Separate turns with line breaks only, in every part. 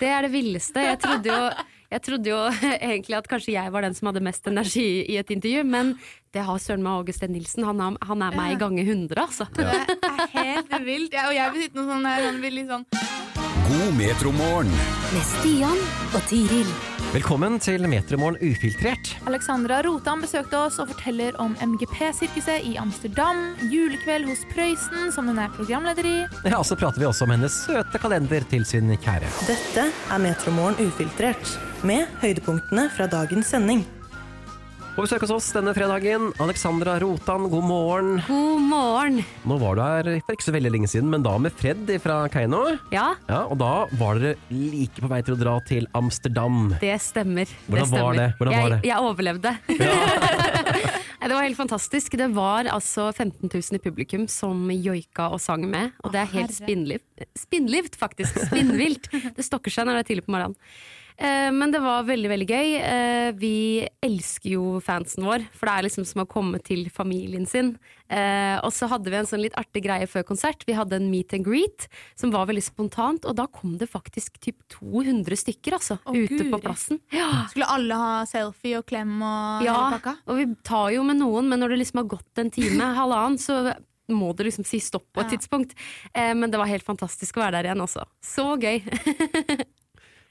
Det er det villeste. Jeg trodde jo, jeg trodde jo egentlig at kanskje jeg var den som hadde mest energi i et intervju, men det har søren meg August N. Nilsen. Han, har- han er meg i gange 100, altså.
Det er helt vilt. Jeg, og jeg vil sitte noe sånn der, sånn, vil litt sånn
God metromorgen.
Med Stian og Tiril.
Velkommen til Metromorgen ufiltrert.
Alexandra Rotan besøkte oss og forteller om MGP-sirkuset i Amsterdam, julekveld hos Prøysen, som hun er programleder i.
Ja, og så prater vi også om hennes søte kalender til sin kjære.
Dette er Metromorgen ufiltrert, med høydepunktene fra dagens sending.
På besøk hos oss denne fredagen, Alexandra Rotan, god morgen.
God morgen.
Nå var du her for ikke så veldig lenge siden, men da med Fred fra Keiino.
Ja,
Ja, og da var dere like på vei til å dra til Amsterdam.
det stemmer.
Hvordan var
stemmer.
det? Hvordan var det?
Jeg, jeg overlevde. Nei, Det var helt fantastisk. Det var altså 15 000 i publikum som joika og sang med. Og det er helt spinnlivt, spinnlivt faktisk. Spinnvilt. Det stokker seg når det er tidlig på morgenen. Eh, Men det var veldig veldig gøy. Eh, Vi elsker jo fansen vår, for det er liksom som å komme til familien sin. Eh, Og så hadde vi en sånn litt artig greie før konsert. Vi hadde en meet and greet som var veldig spontant, og da kom det faktisk typ 200 stykker altså,
Å,
ute
Guri.
på plassen. Ja,
Ah, Skulle alle ha selfie og klem og hele
ja,
pakka?
og vi tar jo med noen, men når det liksom har gått en time, halvannen, så må du liksom si stopp på et
Ja.
tidspunkt. Eh, men det var helt fantastisk å være der igjen, altså. Så gøy.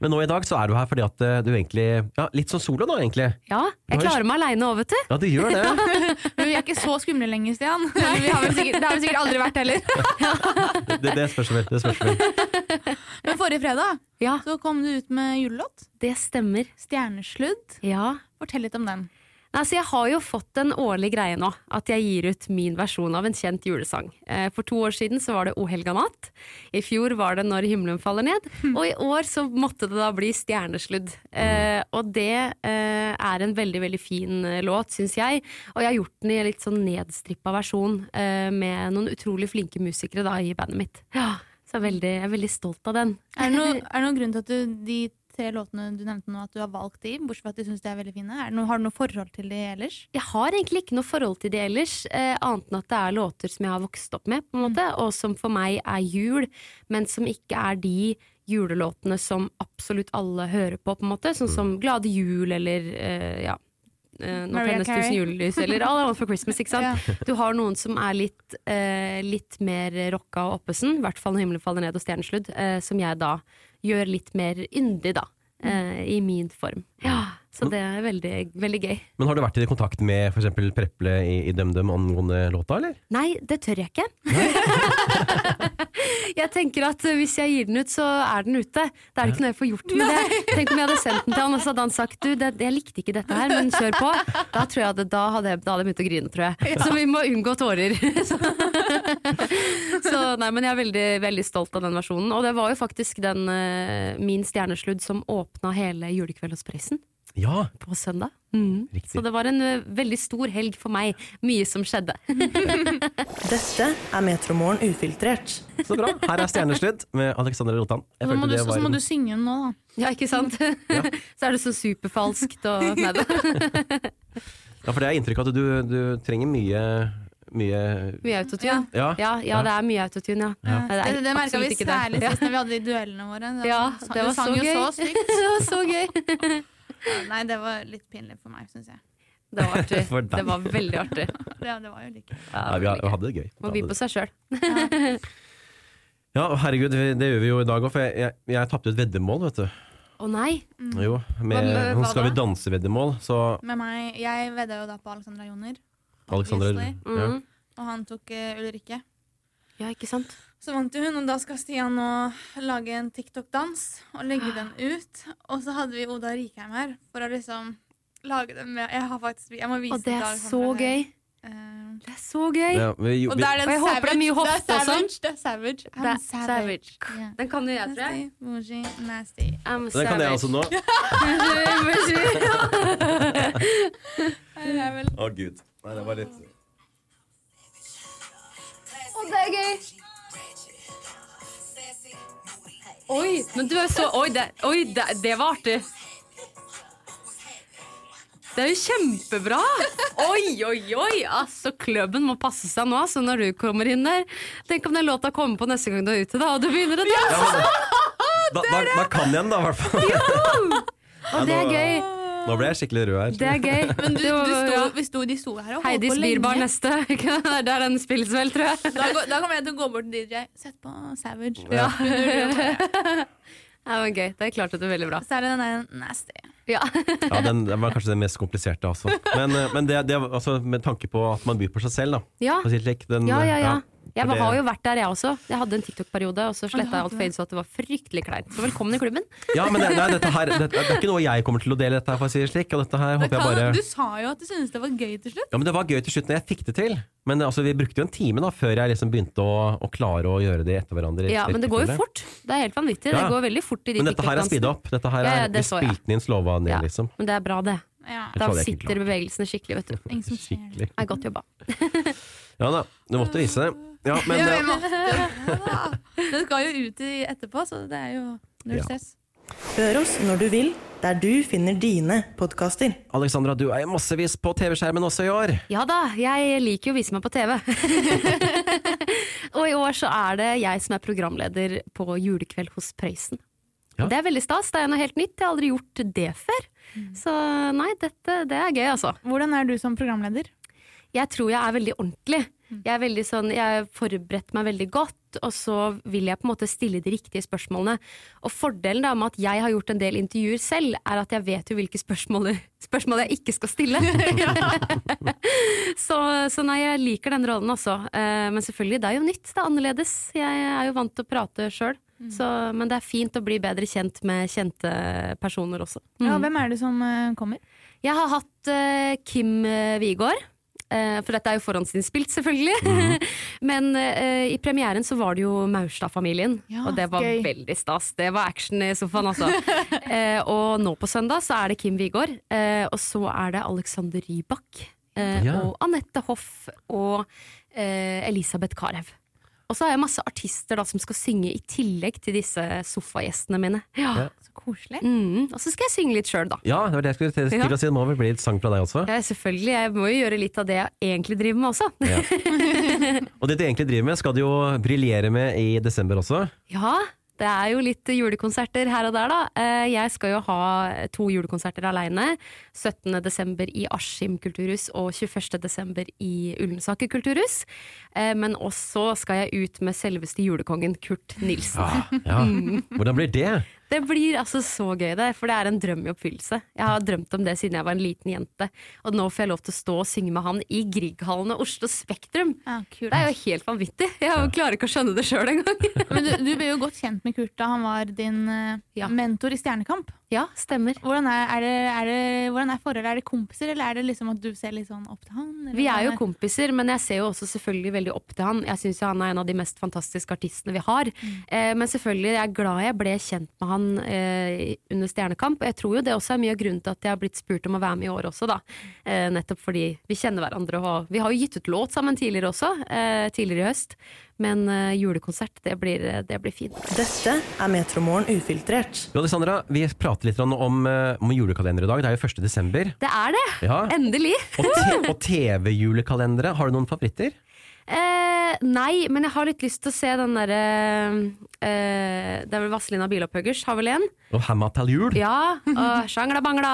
Men nå i dag så er du her fordi at eh, du egentlig Ja, litt sånn solo nå, egentlig.
Ja, jeg
Det var jo-
klarer meg aleine òg, vet du.
Ja, du gjør det.
Men vi er ikke så skumle lenger, Stian. Vi har vel sikkert, det har vi sikkert aldri vært heller.
Det, det spørs vel. Det spørs vel.
Men forrige fredag
Ja,
så kom du ut med julelåt.
det stemmer.
Stjernesludd.
Ja.
Fortell litt om den.
Nei, så jeg har jo fått en årlig greie nå, at jeg gir ut min versjon av en kjent julesang. Eh, For to år siden så var det O helga natt, i fjor var det Når himmelen faller ned, og i år så måtte det da bli Stjernesludd. Eh, Og det eh, er en veldig, veldig fin eh, låt, syns jeg, og jeg har gjort den i en litt sånn nedstrippa versjon eh, med noen utrolig flinke musikere da i bandet mitt. Ja, så jeg er veldig, jeg er veldig stolt av den.
Er det noen, er det noen grunn til at du, de tre låtene du nevnte nå, at du har valgt de, bortsett fra at du syns de er veldig fine? Er det noe, har du noe forhold til de ellers?
Jeg har egentlig ikke noe forhold til det ellers, eh, annet enn at det er låter som jeg har vokst opp med, på
Mm.
en måte, og som for meg er jul, men som ikke er de julelåtene som absolutt alle hører på, på en måte, sånn som Glade jul eller eh, ja. eh, Nå
Mariah
tennes tusen
Carey.
julelys, eller All I Want for Christmas. ikke sant? Du har noen som er litt, eh, litt mer rocka og oppesen, i hvert fall når himmelen faller ned og stjernesludd, eh, som jeg da gjør litt mer yndig, da.
Mm.
eh, I min form. Ja, så det er veldig, veldig gøy.
Men har du vært i kontakt med f.eks. Preple i, i DumDum angående låta, eller?
Nei, det tør jeg ikke. jeg tenker at eh, hvis jeg gir den ut, så er den ute. Det er det ikke noe jeg får gjort med det. Tenk om jeg hadde sendt den til han, og så hadde han sagt du, det, jeg likte ikke dette her, men kjør på. Da, tror jeg det, da, hadde jeg, da hadde jeg begynt å grine, tror jeg. Så vi må unngå tårer. så nei, men jeg er veldig, veldig stolt av den versjonen. Og det var jo faktisk den eh, Min stjernesludd som åpna hele julekveld hos Prøysen
Ja,
på søndag. Mm.
riktig.
Så det var en eh, veldig stor helg for meg. Mye som skjedde.
Dette er Metromorgen ufiltrert.
Så bra. Her er Stjernesludd med Alexander Rotan. Jeg
Så
følte
må, du,
det var
så må
en-
du synge den nå, da.
Ja, ikke sant?
Mm.
så er det så superfalskt og Nei da.
Ja, for det er inntrykk av at du, du trenger mye, mye
Mye autotune.
Ja.
Ja, ja, det er mye autotune, ja.
Ja.
Nei,
Det, det merka
absolutt
vi
ikke
særlig sist når vi hadde de duellene våre. Det
Ja,
var-
det var
du sang
så
jo
gøy.
så stygt.
det var så gøy!
Nei, det var litt pinlig for meg, syns jeg.
Det var artig.
For deg.
Det var veldig artig.
Det, det var jo like.
Ja,
Nei, vi har- vi
veldig gøy.
hadde det gøy.
Må
Vi hadde
by
det.
på seg sjøl.
Ja, herregud, vi- det gjør vi jo i dag òg, for jeg, jeg, jeg tapte et veddemål, vet
Å
du.
nei!
Mm.
Jo, med,
Hva- hva
hun skal
da?
vi danse-veddemål, så
Med meg, Jeg vedda jo da på Alexandra Joner,
Alexander
Obviously.
ja.
Mm.
og han tok eh, Ulrikke.
Ja, ikke sant?
Så vant jo hun, og da skal Stian nå lage en TikTok-dans og legge den ut. Og så hadde vi Oda Rikheim her for å liksom lage den med Jeg, har faktisk, jeg må vise
Og det
til
er
Dag
så
Sandra her.
gøy!
Eh,
Det er så gøy!
Ja,
og
vi, vi,
det er den
Og jeg håper det er mye hofte
det
og
er
sånn.
savage. Det er
Det
savage. I'm
er savage.
Yeah.
Den kan jo jeg, tror jeg.
Nasty, bougie, nasty.
I'm
det kan jeg
savage.
altså nå.
Det er vel
Å, gud. Nei, det var litt
Oi, men du er jo så Oi, det, oi det, det var artig! Det er jo kjempebra! Oi, oi, oi! Altså, Klubben må passe seg nå altså, når du kommer inn der. Tenk om den låta kommer på neste gang du er ute, da, og du begynner å danse!
Da, da, da kan jeg den, da, i hvert fall.
Og det er gøy.
Nå ble jeg skikkelig rød her.
Det er gøy.
Men du,
Det var-
du sto,
ja.
vi sto, de sto her og holdt
Heidis
på
Bierbar
lenge.
neste. Ikke sant? Det er der den spilles vel, tror jeg.
Da, går- da kommer jeg til å gå bort til DJ. Sett på Savage.
Ja.
Ja, men gøy. Det klarte du veldig bra.
Så er det den der nasty.
Ja.
Ja, den, den var kanskje den mest kompliserte, altså. Men, eh, men det, det, var- altså, med tanke på at man byr på seg selv, da.
Ja.
På sitt lek, den,
Ja, ja, ja.
ja.
Jeg
for det-
har jo vært der, jeg også. Jeg hadde en TikTok-periode, og så sletta jeg
hadde
alt
det.
fade så at det var fryktelig kleint. Så velkommen i klubben.
Ja, men det, nei, dette her, det, det er ikke noe jeg kommer til å dele, dette her, for å si det slik. Og dette her
Det
håper jeg
kan,
bare...
Du sa jo at du syntes det var gøy til slutt.
Ja, men Det var gøy til slutt når jeg fikk det til. Men altså, vi brukte jo en time da, før jeg liksom begynte å, å klare å gjøre det etter hverandre.
Ja, men det går jo fort. Det er helt vanvittig.
Ja.
Det går veldig fort i de
Men dette her er speeda opp. Dette her
Ja,
er,
ja, det
vi
så jeg.
spilte den inn slova ned,
Ja.
liksom.
Men det er bra, det.
Ja.
Jeg
Da
tror det er ikke
sitter bevegelsene skikkelig, vet du.
Ingen som ser det.
Skikkelig.
Er godt jobba.
Ja da, du måtte vise det. Ja, men
Ja,
eh,
vi måtte. Ja, Den skal jo ut i etterpå, så det er jo null
Ja.
stress.
Hør oss når du vil, der du finner dine podkaster.
Alexandra, du er jo massevis på TV-skjermen også i år.
Ja da, jeg liker jo å vise meg på TV. og i år så er det jeg som er programleder på Julekveld hos Prøysen.
Ja.
Det er veldig stas. Det er noe helt nytt. Jeg har aldri gjort det før. Så nei, dette det er gøy, altså.
Hvordan er du som programleder?
jeg tror jeg er veldig ordentlig. Jeg er veldig sånn, jeg forberedte meg veldig godt, og så vil jeg på en måte stille de riktige spørsmålene. Og fordelen da med at jeg har gjort en del intervjuer selv, er at jeg vet jo hvilke spørsmål, spørsmål jeg ikke skal stille. så, så nei, jeg liker den rollen også. Eh, Men selvfølgelig, det er jo nytt, det er annerledes. Jeg er jo vant til å prate sjøl. Men det er fint å bli bedre kjent med kjente personer også.
Ja, hvem er det som eh, kommer?
Jeg har hatt eh, Kim eh, Wigård. eh, for dette er jo forhåndsinnspilt, selvfølgelig. Men eh, i premieren så var det jo Maurstad-familien,
Ja,
og det var
gøy.
veldig stas. Det var action i sofaen, altså. Eh, og nå på søndag så er det Kim Wigård, eh, og så er det Alexander Rybak. eh,
Ja.
Og Anette Hoff og eh, Elisabeth Carew. Og så har jeg masse artister da som skal synge i tillegg til disse sofagjestene mine. Ja.
Så koselig.
Mm, og så skal jeg synge litt sjøl, da.
Ja, det var det jeg skulle til, til å si. Det må vel bli litt sang fra deg også.
Ja, selvfølgelig. Jeg må jo gjøre litt av det jeg egentlig driver med også.
Ja. Og det du egentlig driver med, skal du jo briljere med i desember også.
Ja, det er jo litt julekonserter her og der, da. Eh, Jeg skal jo ha to julekonserter aleine. 17.12. i Askim kulturhus og 21.12. i Ullensaker kulturhus. Eh, Men også skal jeg ut med selveste julekongen Kurt Nilsen.
Ja. Hvordan blir det?
Det blir altså så gøy, det, for det er en drøm i oppfyllelse. Jeg har drømt om det siden jeg var en liten jente, og nå får jeg lov til å stå og synge med han i Grieghallen og Oslo Spektrum.
Ja,
Det er jo helt vanvittig. Jeg jo klarer ikke å skjønne det sjøl engang.
Men du, du ble jo godt kjent med Kurt da han var din eh,
Ja.
mentor i Stjernekamp.
Ja, stemmer.
Hvordan er, er, det, er, det, hvordan er forholdet? Er det kompiser, eller er det liksom at du ser litt sånn opp til han? eller
Vi er jo
hvordan
kompiser, men jeg ser jo også selvfølgelig veldig opp til han. Jeg syns han er en av de mest fantastiske artistene vi har. Eh, men selvfølgelig, jeg er glad jeg ble kjent med han eh, under Stjernekamp. Og jeg tror jo det også er mye av grunnen til at jeg har blitt spurt om å være med i år også, da. Eh, nettopp fordi vi kjenner hverandre og har- Vi har jo gitt ut låt sammen tidligere også, eh, tidligere i høst. Men eh, julekonsert, det blir, det blir fint.
Dette er Metromorgen ufiltrert.
Jo, Alexandra, vi prater litt om, om, eh, om julekalender i dag. Det er jo 1. desember.
Det er det!
Ja.
Endelig!
Og, te- og TV-julekalendere. Har du noen favoritter?
Eh, nei, men jeg har litt lyst til å se den derre eh, Det er vel Vazelina Bilopphøggers, har vel en?
Og Hamma til jul?
Ja. Og sjangla bangla!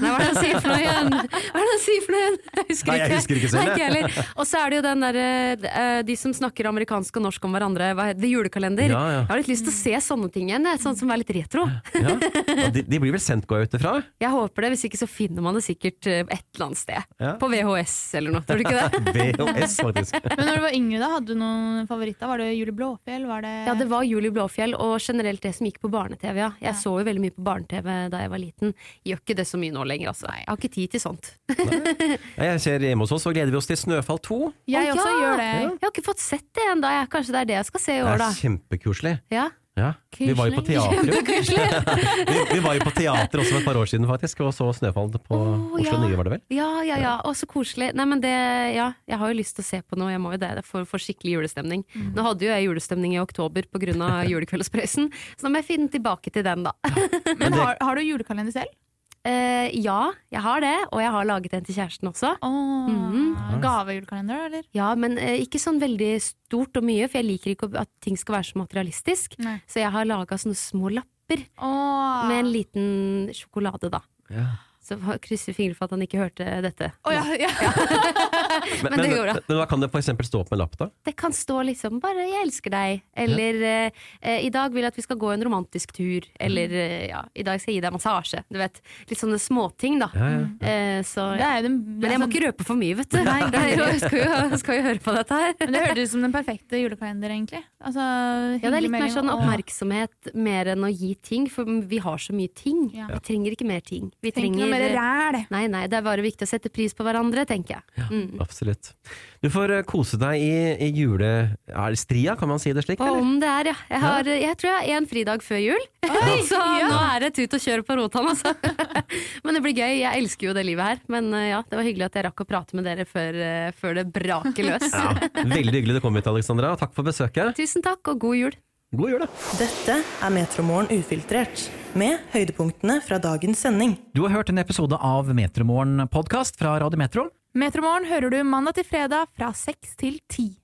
Nei, hva er det han sier for noe igjen? Hva er det han sier for noe igjen? Jeg husker
Nei,
ikke.
jeg husker ikke selv,
Nei,
jeg.
heller. Og så er det jo den derre eh, De som snakker amerikansk og norsk om hverandre, hva heter det? Julekalender.
Ja, ja.
Jeg har litt lyst til å se sånne ting igjen, jeg, sånn som er litt retro.
Ja. Og De, de blir vel sendt, går jeg ut ifra?
Jeg håper det, hvis ikke så finner man det sikkert eh, et eller annet sted.
Ja.
På VHS eller noe, tror du ikke det?
VHS, faktisk.
er det? Men når du var yngre, da, hadde du noen favoritter? Var det Julie Blåfjell? Var det
Ja, det var Julie Blåfjell, og generelt det som gikk på barne-TV. Eh. Ja. Jeg så jo veldig mye på barne-TV da jeg var liten. Gjør ikke det så mye nå lenger, altså. Jeg har ikke tid til sånt.
Ja, Jeg ser hjemme hos oss, og gleder vi oss til Snøfall 2.
Jeg
Å,
også
ja!
gjør det.
Jeg har ikke fått sett det ennå. Kanskje det er det jeg skal se i
Det
år,
er
da.
kjempekoselig.
Ja.
Ja. Vi var jo på teater jo.
Kjempekoselig!
Vi, vi var jo på teater også for et par år siden, faktisk, og så Snøfall på
Å, ja.
Oslo Nye, var det vel?
Ja, ja, ja. Å, så koselig. Nei, men det Ja, jeg har jo lyst til å se på noe, jeg må jo det. Det får, får skikkelig julestemning. Nå hadde jo jeg julestemning i oktober pga. Julekveldsprøysen, så nå må jeg finne tilbake til den, da.
Men har, har du julekalender selv?
Eh, ja, jeg har det, og jeg har laget en til kjæresten også.
Oh,
Mhm.
Gavejulekalender, eller?
Ja, men eh, ikke sånn veldig stort og mye, for jeg liker ikke å- at ting skal være så materialistisk.
Nei.
Så jeg har laga sånne små lapper pepper
Åh.
med en liten sjokolade, da.
Ja.
Så krysser fingre for at han ikke hørte dette.
Å, ja, ja.
Men det går bra.
men da kan det f.eks. stå opp med en lapp, da?
Det kan stå liksom bare 'jeg elsker deg', eller eh, eh, 'i dag vil jeg at vi skal gå en romantisk tur', eller eh, ja, 'i dag skal jeg gi deg massasje'. Du vet, Litt sånne småting, da.
Ja, ja.
Eh, så,
Det
ja.
er sånn- jo den,
Men jeg må ikke røpe for mye, vet sånn du.
Nei.
Det er jo, skal, jo, skal jo høre på dette her.
Men Det hørtes ut som den perfekte julekalender, egentlig. Altså,
Ja, det er litt mer
hyggelig
sånn
melding og-
oppmerksomhet mer enn å gi ting, for vi har så mye ting.
Ja.
Vi trenger ikke mer ting. Vi
Tenk noe
trenger
mer ræl!
Nei, nei, det er bare viktig å sette pris på hverandre, tenker jeg.
Ja, Absolutt. Du får eh, kose deg i, i jule... Er det stria, kan man si det slik?
Og
Eller?
om det er, ja. Jeg, har, jeg tror jeg har én fridag før jul, så nå er det tut og kjør på rotan, altså. men det blir gøy. Jeg elsker jo det livet her. Men eh, ja, det var hyggelig at jeg rakk å prate med dere før, eh, før det braker løs.
Ja, veldig hyggelig du kom hit, Alexandra. Takk for besøket.
Tusen takk, og god jul.
God jul, da.
Dette er Metromorgen ufiltrert, med høydepunktene fra dagens sending.
Du har hørt en episode av Metromorgen podkast fra Radio Metro.
Metromorgen hører du mandag til fredag fra seks til ti.